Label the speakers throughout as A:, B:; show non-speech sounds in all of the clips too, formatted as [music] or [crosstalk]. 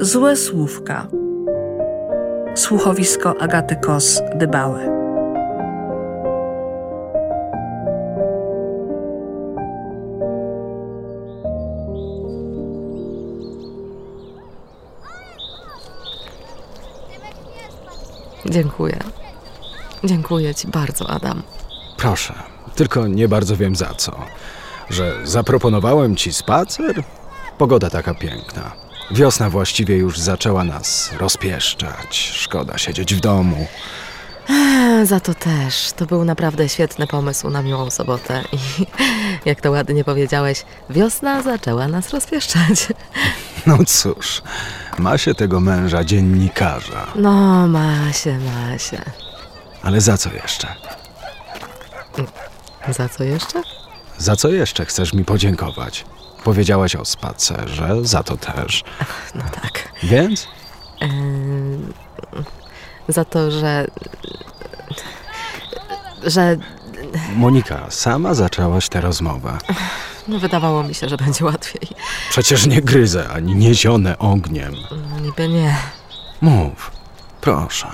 A: Złe słówka. Słuchowisko Agaty Kos Dybałe.
B: Dziękuję. Dziękuję ci bardzo, Adam.
C: Proszę, tylko nie bardzo wiem za co. Że zaproponowałem ci spacer? Pogoda taka piękna. Wiosna właściwie już zaczęła nas rozpieszczać. Szkoda siedzieć w domu.
B: E, Za to też. To był naprawdę świetny pomysł na miłą sobotę i [laughs] jak to ładnie powiedziałeś, wiosna zaczęła nas rozpieszczać. [laughs]
C: No cóż, ma się tego męża dziennikarza.
B: No, ma się, ma się.
C: Ale za co jeszcze?
B: Za co jeszcze?
C: Za co jeszcze chcesz mi podziękować? Powiedziałaś o spacerze, za to też.
B: No tak.
C: Więc?
B: Em, za to, że. że.
C: Monika, sama zaczęłaś tę rozmowę.
B: No, wydawało mi się, że będzie łatwiej.
C: Przecież nie gryzę ani nie zionę ogniem.
B: No, niby nie.
C: Mów, proszę.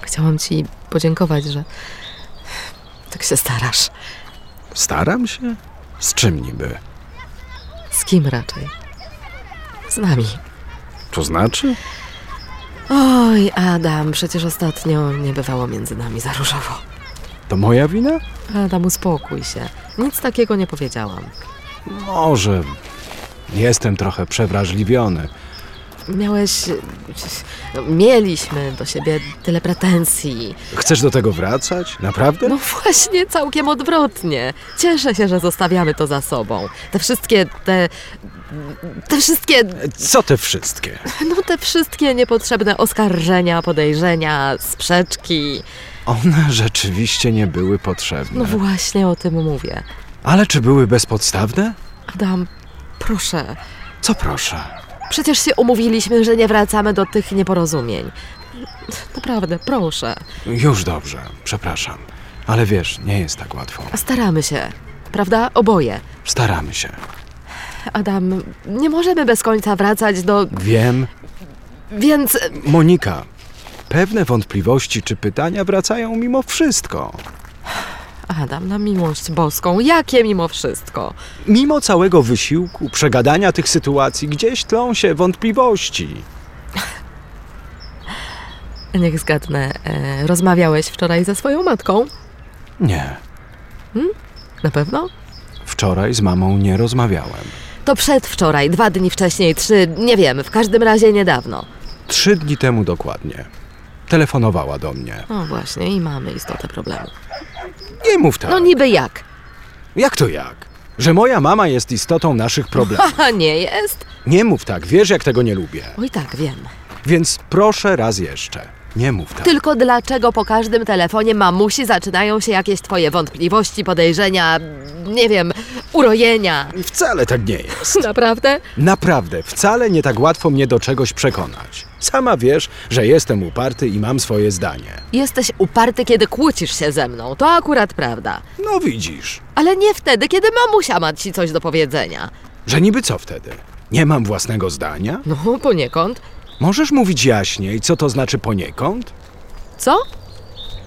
B: Chciałam ci podziękować, że. tak się starasz.
C: Staram się? Z czym niby?
B: Z kim raczej? Z nami.
C: To znaczy?
B: Oj, Adam, przecież ostatnio nie bywało między nami za różowo.
C: To moja wina?
B: Adam, uspokój się. Nic takiego nie powiedziałam.
C: Może. Jestem trochę przewrażliwiony.
B: Miałeś. no, Mieliśmy do siebie tyle pretensji.
C: Chcesz do tego wracać? Naprawdę?
B: No właśnie, całkiem odwrotnie. Cieszę się, że zostawiamy to za sobą. Te wszystkie, te. Te wszystkie,
C: Co te wszystkie?
B: no te wszystkie niepotrzebne oskarżenia, podejrzenia, sprzeczki.
C: One rzeczywiście nie były
B: No
C: potrzebne.
B: właśnie o tym mówię.
C: Ale czy były bezpodstawne?
B: Adam, proszę,
C: Co proszę?
B: przecież się umówiliśmy, że nie wracamy do tych nieporozumień. Naprawdę, proszę.
C: Już dobrze, przepraszam. Ale wiesz, nie jest tak łatwo.
B: Staramy się, prawda? Oboje.
C: Staramy się.
B: Adam, nie możemy bez końca wracać do.
C: Wiem.
B: Więc.
C: Monika, pewne wątpliwości czy pytania wracają mimo wszystko.
B: Adam, na miłość boską, jakie mimo wszystko?
C: Mimo całego wysiłku, przegadania tych sytuacji, gdzieś tlą się wątpliwości.
B: Niech zgadnę, e, rozmawiałeś wczoraj ze swoją matką?
C: Nie,
B: Na pewno?
C: wczoraj z mamą nie rozmawiałem.
B: To przedwczoraj, dwa dni wcześniej, trzy, nie wiem, w każdym razie niedawno.
C: Trzy dni temu dokładnie. Telefonowała do mnie.
B: No właśnie, i mamy istotę problemu.
C: Nie mów tak.
B: No niby jak?
C: Jak to jak? Że moja mama jest istotą naszych problemów.
B: A nie jest?
C: Nie mów tak, wiesz jak tego nie lubię.
B: Oj tak, wiem.
C: Więc proszę raz jeszcze. Nie mów tak.
B: Tylko dlaczego po każdym telefonie mamusi zaczynają się jakieś twoje wątpliwości, podejrzenia, nie wiem, urojenia?
C: Wcale tak nie jest.
B: Naprawdę?
C: Naprawdę, wcale nie tak łatwo mnie do czegoś przekonać. Sama wiesz, że jestem uparty i mam swoje zdanie.
B: Jesteś uparty, kiedy kłócisz się ze mną, to akurat prawda.
C: No widzisz,
B: Ale nie wtedy, kiedy mamusia ma ci coś do powiedzenia.
C: że niby co wtedy? Nie mam własnego zdania?
B: No, poniekąd.
C: Możesz mówić jaśniej, co to znaczy poniekąd?
B: Co?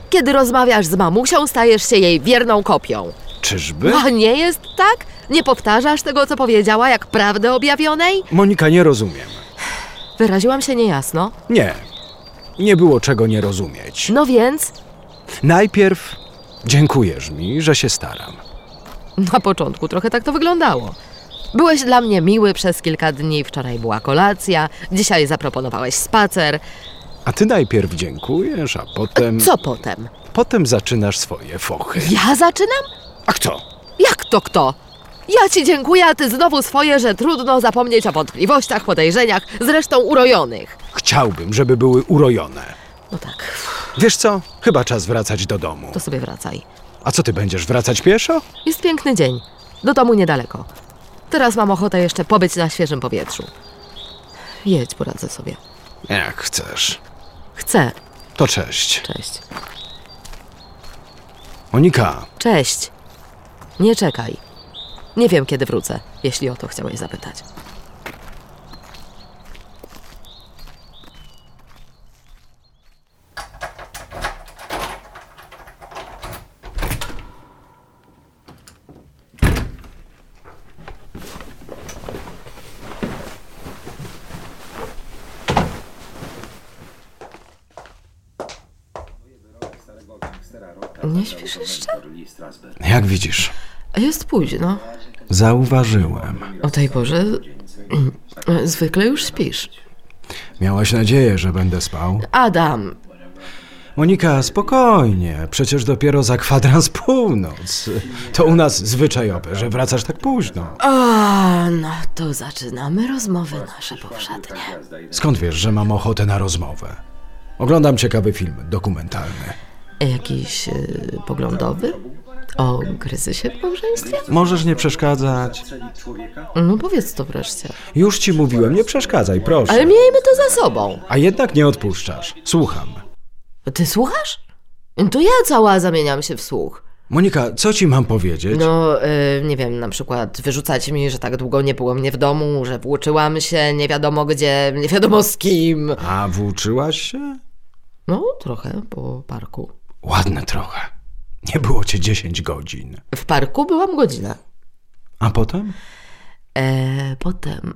B: Kiedy rozmawiasz z mamusią, stajesz się jej wierną kopią.
C: Czyżby?
B: A nie jest tak? Nie powtarzasz tego, co powiedziała, jak prawdę objawionej?
C: Monika, nie rozumiem.
B: Wyraziłam się niejasno.
C: Nie. Nie było czego nie rozumieć.
B: No więc,
C: Najpierw dziękujesz mi, że się staram.
B: na początku trochę tak to wyglądało. Byłeś dla mnie miły przez kilka dni, wczoraj była kolacja, dzisiaj zaproponowałeś spacer.
C: A ty najpierw dziękujesz, a potem.
B: Co potem?
C: Potem zaczynasz swoje fochy.
B: Ja zaczynam?
C: A kto?
B: Jak to kto? Ja ci dziękuję, a ty znowu swoje, że trudno zapomnieć o wątpliwościach, podejrzeniach, zresztą urojonych.
C: Chciałbym, żeby były urojone.
B: No tak,
C: Wiesz co? Chyba czas wracać do domu.
B: to sobie wracaj.
C: A co ty będziesz wracać pieszo?
B: Jest piękny dzień. Do domu niedaleko. Teraz mam ochotę jeszcze pobyć na świeżym powietrzu. Jedź, poradzę sobie.
C: Jak chcesz.
B: Chcę.
C: To cześć.
B: Cześć.
C: Monika,
B: Cześć. Nie czekaj. Nie wiem, kiedy wrócę, jeśli o to chciałeś zapytać. Nie śpisz jeszcze?
C: Jak widzisz,
B: A Jest późno.
C: zauważyłem.
B: O tej porze mm, zwykle już śpisz.
C: Miałaś nadzieję, że będę spał?
B: Adam,
C: Monika, spokojnie, przecież dopiero za kwadrans [laughs] północ. To u nas zwyczajowe, że wracasz tak późno.
B: A, no to zaczynamy rozmowy nasze powszednie.
C: Skąd wiesz, że mam ochotę na rozmowę? Oglądam ciekawy film dokumentalny.
B: Jakiś y, poglądowy? O kryzysie w małżeństwie?
C: Możesz nie przeszkadzać.
B: No powiedz to wreszcie.
C: Już ci mówiłem, nie przeszkadzaj, proszę.
B: Ale miejmy to za sobą.
C: A jednak nie odpuszczasz. Słucham.
B: Ty słuchasz? To ja cała zamieniam się w słuch.
C: Monika, co ci mam powiedzieć?
B: No, y, nie wiem, na przykład wyrzucacie mi, że tak długo nie było mnie w domu, że włóczyłam się nie wiadomo gdzie, nie wiadomo z kim.
C: A włóczyłaś się?
B: No, trochę po parku.
C: Ładne trochę. Nie było cię 10 godzin.
B: W parku byłam godzinę.
C: A potem?
B: E, potem.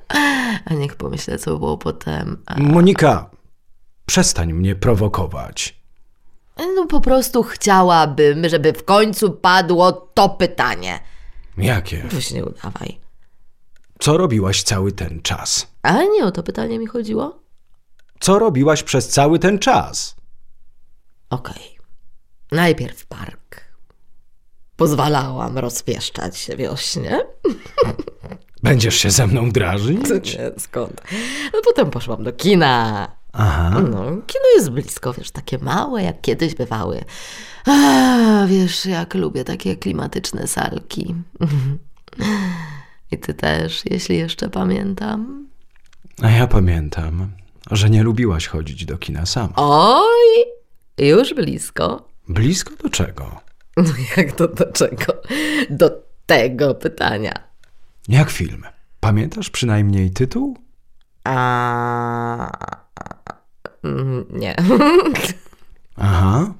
B: [laughs] A niech pomyślę, co było potem. A,
C: Monika, przestań mnie prowokować.
B: no po prostu chciałabym, żeby w końcu padło to pytanie.
C: Jakie?
B: Weź nie udawaj.
C: Co robiłaś cały ten czas?
B: A nie o to pytanie mi chodziło?
C: Co robiłaś przez cały ten czas?
B: Okej. Najpierw park. Pozwalałam rozpieszczać się wiośnie.
C: Będziesz się ze mną drażnić?
B: Nie, skąd? No potem poszłam do kina.
C: Aha.
B: No, kino jest blisko, wiesz, takie małe, jak kiedyś bywały. A, wiesz, jak lubię takie klimatyczne salki. [laughs] I ty też, jeśli jeszcze pamiętam.
C: A ja pamiętam, że nie lubiłaś chodzić do kina sama.
B: Oj, już blisko. [laughs]
C: Blisko do czego?
B: No jak to do czego? Do tego pytania.
C: Jak film? Pamiętasz przynajmniej tytuł?
B: A... mm, Nie. [laughs]
C: Aha.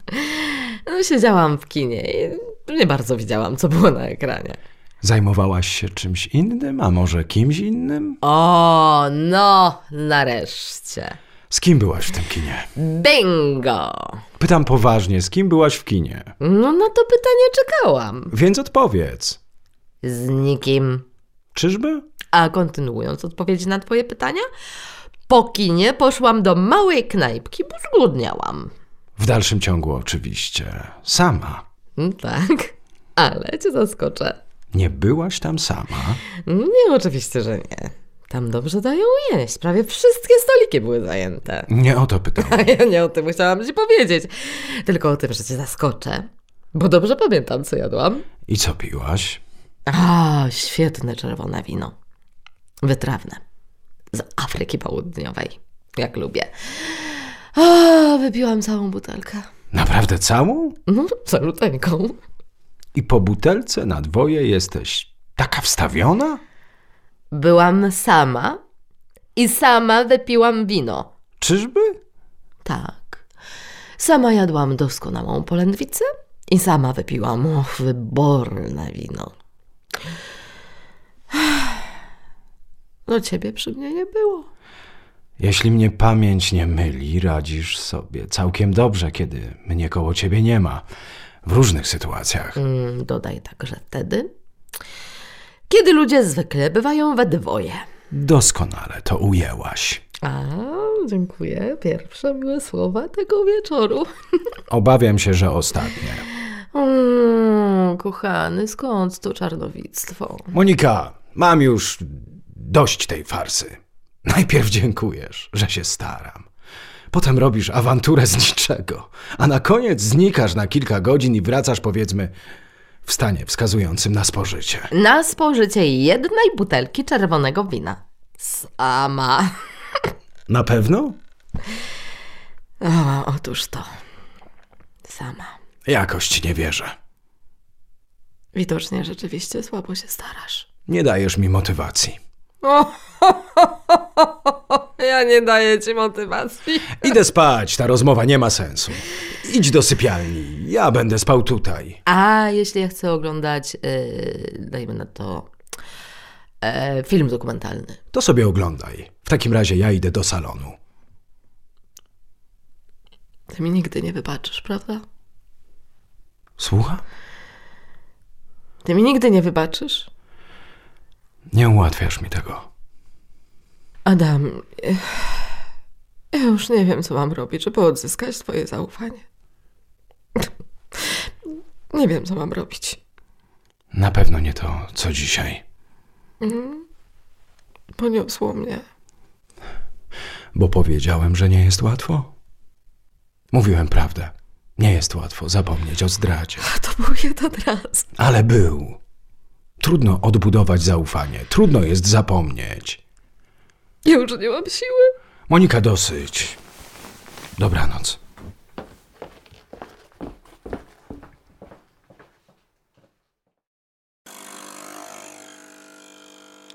B: No, siedziałam w kinie i nie bardzo widziałam, co było na ekranie.
C: Zajmowałaś się czymś innym, a może kimś innym?
B: O, no, nareszcie.
C: Z kim byłaś w tym kinie?
B: Bingo!
C: Pytam poważnie, z kim byłaś w kinie?
B: No na to pytanie czekałam.
C: Więc odpowiedz.
B: Z nikim.
C: Czyżby?
B: A kontynuując odpowiedzi na twoje pytania, po kinie poszłam do małej knajpki, bo zgłodniałam.
C: W dalszym ciągu oczywiście. Sama.
B: No Tak, [laughs] ale cię zaskoczę.
C: Nie byłaś tam sama.
B: Nie, oczywiście, że nie. Tam dobrze dają jeść. Prawie wszystkie stoliki były zajęte. [laughs]
C: Nie o to pytam.
B: A ja nie o tym chciałam ci powiedzieć. Tylko o tym, że cię zaskoczę. Bo dobrze pamiętam, co jadłam.
C: I co piłaś?
B: A, świetne czerwone wino. Wytrawne. Z Afryki Południowej. Jak lubię. A, wypiłam całą butelkę.
C: Naprawdę całą?
B: No, saluteńką.
C: I po butelce na dwoje jesteś taka wstawiona?
B: Byłam sama i sama wypiłam wino.
C: Czyżby?
B: Tak. Sama jadłam doskonałą polędwicę i sama wypiłam o, wyborne wino. No ciebie przy mnie nie było.
C: Jeśli mnie pamięć nie myli, radzisz sobie całkiem dobrze, kiedy mnie koło ciebie nie ma. W różnych sytuacjach.
B: Mm, Dodaj także wtedy, kiedy ludzie zwykle bywają we dwoje.
C: Doskonale to ujęłaś.
B: A, dziękuję. Pierwsze miłe słowa tego wieczoru.
C: Obawiam się, że ostatnie.
B: Mm, kochany, skąd to czarnowictwo?
C: Monika, mam już dość tej farsy. Najpierw dziękujesz, że się staram. Potem robisz awanturę z niczego, a na koniec znikasz na kilka godzin i wracasz, powiedzmy, w stanie wskazującym na spożycie.
B: Na spożycie jednej butelki czerwonego wina. Sama.
C: Na pewno?
B: O, otóż to. Sama.
C: Jakoś ci nie wierzę.
B: Widocznie rzeczywiście słabo się starasz.
C: Nie dajesz mi motywacji.
B: O, ja nie daję ci motywacji.
C: Idę spać, ta rozmowa nie ma sensu. Idź do sypialni, ja będę spał tutaj.
B: A jeśli ja chcę oglądać, yy, dajmy na to, e, film dokumentalny.
C: To sobie oglądaj. W takim razie ja idę do salonu.
B: Ty mi nigdy nie wybaczysz, prawda?
C: Słucha?
B: Ty mi nigdy nie wybaczysz?
C: Nie ułatwiasz mi tego.
B: Adam, eh, ja już nie wiem, co mam robić, żeby odzyskać twoje zaufanie. Nie wiem, co mam robić.
C: Na pewno nie to, co dzisiaj.
B: Poniosło mnie.
C: Bo powiedziałem, że nie jest łatwo? Mówiłem prawdę. Nie jest łatwo zapomnieć o zdradzie.
B: To był jeden raz.
C: Ale był. Trudno odbudować zaufanie, trudno jest zapomnieć.
B: Już nie mam siły.
C: Monika, dosyć. Dobranoc.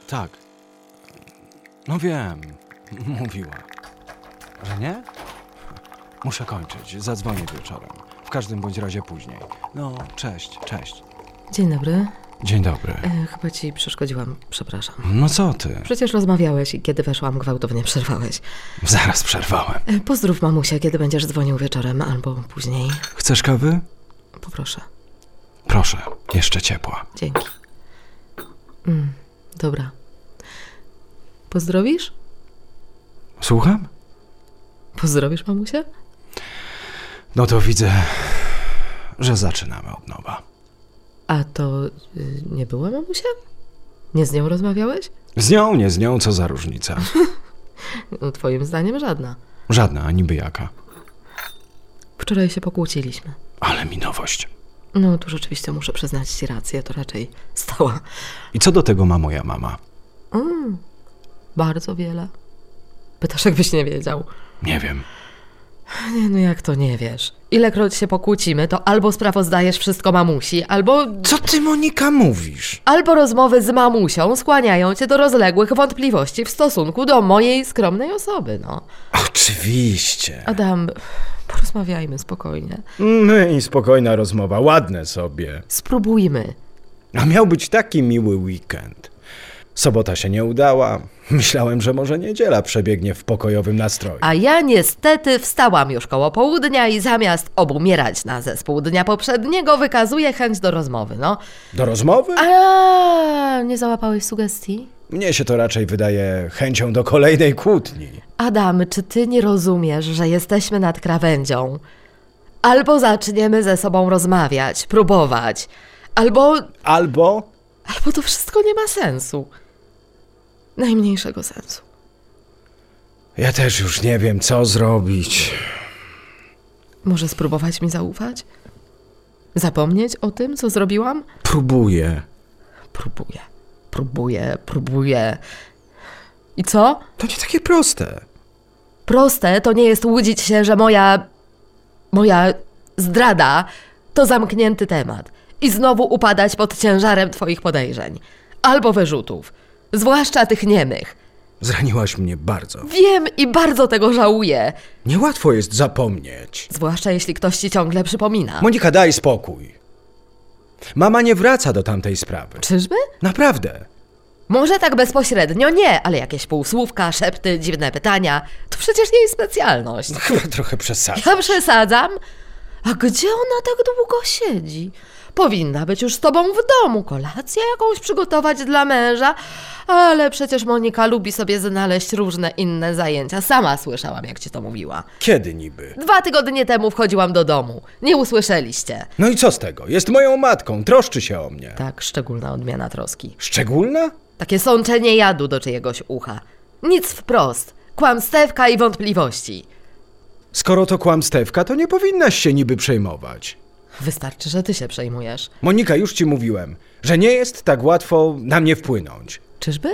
C: Tak. No wiem. [laughs] Mówiła. Że nie? Muszę kończyć. Zadzwonię wieczorem. W każdym bądź razie później. No, cześć, cześć.
B: Dzień dobry.
C: Dzień dobry.
B: E, Chyba ci przeszkodziłam, przepraszam.
C: No co ty?
B: Przecież rozmawiałeś i kiedy weszłam, gwałtownie przerwałeś.
C: Zaraz przerwałem.
B: E, Pozdrów mamusia, kiedy będziesz dzwonił wieczorem albo później.
C: Chcesz kawy?
B: Poproszę.
C: Proszę, jeszcze ciepła.
B: Dzięki. Mm, dobra. Pozdrowisz?
C: Słucham?
B: Pozdrowisz mamusia?
C: No to widzę, że zaczynamy od nowa.
B: A to y, nie była mamusia? Nie z nią rozmawiałeś?
C: Z nią, nie z nią, co za różnica? [laughs]
B: No, Twoim zdaniem żadna.
C: Żadna, ani jaka.
B: Wczoraj się pokłóciliśmy.
C: Ale mi nowość.
B: No tu rzeczywiście muszę przyznać Ci rację, to raczej stała.
C: I co do tego ma moja mama?
B: Bardzo wiele. Pytasz, jakbyś nie wiedział.
C: Nie wiem.
B: Nie, no jak to nie wiesz? Ilekroć się pokłócimy, to albo sprawozdajesz wszystko mamusi, albo...
C: Co ty, Monika, mówisz?
B: Albo rozmowy z mamusią skłaniają cię do rozległych wątpliwości w stosunku do mojej skromnej osoby, no.
C: Oczywiście.
B: Adam, porozmawiajmy spokojnie.
C: My No i spokojna rozmowa, ładne sobie.
B: Spróbujmy.
C: A miał być taki miły weekend. Sobota się nie udała. Myślałem, że może niedziela przebiegnie w pokojowym nastroju.
B: A ja niestety wstałam już koło południa i zamiast obumierać na zespół dnia poprzedniego, wykazuję chęć do rozmowy, no.
C: Do rozmowy?
B: A nie załapałeś sugestii?
C: Mnie się to raczej wydaje chęcią do kolejnej kłótni.
B: Adam, czy ty nie rozumiesz, że jesteśmy nad krawędzią? Albo zaczniemy ze sobą rozmawiać, próbować, albo,
C: Albo
B: albo to wszystko nie ma sensu. Najmniejszego sensu.
C: Ja też już nie wiem, co zrobić.
B: Może spróbować mi zaufać? Zapomnieć o tym, co zrobiłam?
C: Próbuję.
B: Próbuję, próbuję, próbuję. I co?
C: To nie takie proste.
B: Proste to nie jest łudzić się, że moja. moja zdrada to zamknięty temat. I znowu upadać pod ciężarem Twoich podejrzeń albo wyrzutów, zwłaszcza tych niemych.
C: Zraniłaś mnie bardzo.
B: Wiem i bardzo tego żałuję,
C: Niełatwo jest zapomnieć.
B: zwłaszcza jeśli ktoś ci ciągle przypomina.
C: Monika, daj spokój. Mama nie wraca do tamtej sprawy.
B: Czyżby?
C: Naprawdę.
B: Może tak bezpośrednio nie, ale jakieś półsłówka, szepty, dziwne pytania to przecież jej specjalność.
C: Chyba trochę przesadza.
B: Ja przesadzam? A gdzie ona tak długo siedzi? Powinna być już z tobą w domu, kolację jakąś przygotować dla męża, ale przecież Monika lubi sobie znaleźć różne inne zajęcia. Sama słyszałam, jak ci to mówiła.
C: Kiedy niby?
B: Dwa tygodnie temu wchodziłam do domu. Nie usłyszeliście.
C: No i co z tego? Jest moją matką, troszczy się o mnie.
B: Tak, szczególna odmiana troski.
C: Szczególna?
B: Takie sączenie jadu do czyjegoś ucha. Nic wprost. Kłamstewka i wątpliwości.
C: Skoro to kłamstewka, to nie powinnaś się niby przejmować.
B: Wystarczy, że ty się przejmujesz.
C: Monika, już ci mówiłem, że nie jest tak łatwo na mnie wpłynąć.
B: Czyżby?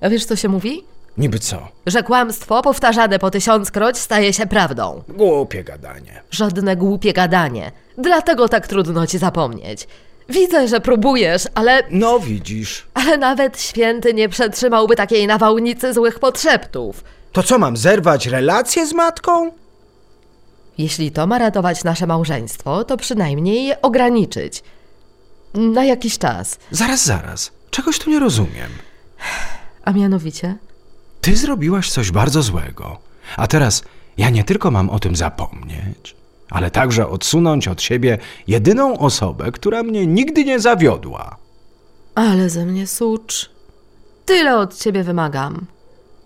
B: A wiesz, co się mówi?
C: Niby co?
B: że kłamstwo powtarzane po tysiąckroć staje się prawdą.
C: Głupie gadanie.
B: Żadne głupie gadanie. Dlatego tak trudno ci zapomnieć. Widzę, że próbujesz, ale,
C: No widzisz.
B: ale nawet święty nie przetrzymałby takiej nawałnicy złych podszeptów.
C: To co mam zerwać relacje z matką?
B: Jeśli to ma ratować nasze małżeństwo, to przynajmniej je ograniczyć. Na jakiś czas.
C: Zaraz, zaraz. Czegoś tu nie rozumiem.
B: A mianowicie?
C: Ty zrobiłaś coś bardzo złego. A teraz ja nie tylko mam o tym zapomnieć, ale także odsunąć od siebie jedyną osobę, która mnie nigdy nie zawiodła.
B: Ale ze mnie sucz. Tyle od ciebie wymagam.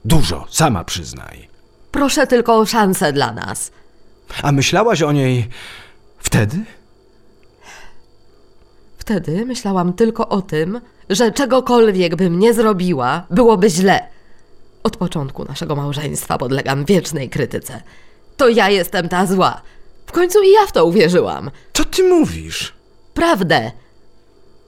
C: Dużo, sama przyznaj.
B: Proszę tylko o szansę dla nas.
C: A myślałaś o niej wtedy?
B: Wtedy myślałam tylko o tym, że czegokolwiek bym nie zrobiła, byłoby źle. Od początku naszego małżeństwa podlegam wiecznej krytyce. To ja jestem ta zła. W końcu i ja w to uwierzyłam.
C: Co ty mówisz?
B: Prawdę.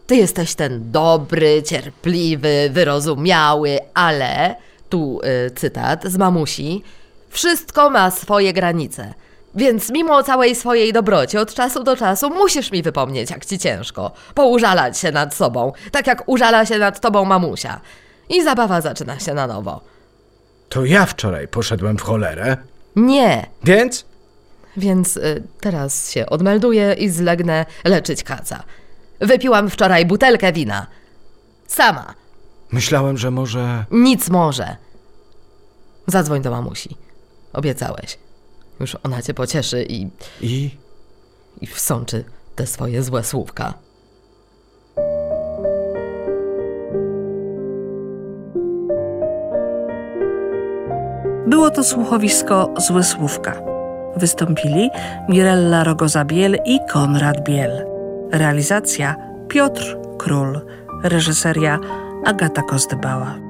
B: Ty jesteś ten dobry, cierpliwy, wyrozumiały, ale tu y, cytat z mamusi: wszystko ma swoje granice. Więc mimo całej swojej dobroci od czasu do czasu musisz mi wypomnieć, jak ci ciężko, poużalać się nad sobą, tak jak użala się nad tobą mamusia. I zabawa zaczyna się na nowo.
C: To ja wczoraj poszedłem w cholerę,
B: Nie,
C: więc
B: Więc y, teraz się odmelduję i zlegnę leczyć kaca. Wypiłam wczoraj butelkę wina. Sama.
C: myślałem, że może.
B: Nic może. Zadzwoń do mamusi. Obiecałeś. Już ona cię pocieszy i,
C: I
B: i wsączy te swoje złe słówka.
A: Było to słuchowisko Złysłówka. Wystąpili Mirella Rogoza-Biel i Konrad Biel. Realizacja Piotr Król. Reżyseria Agata Kozdybała.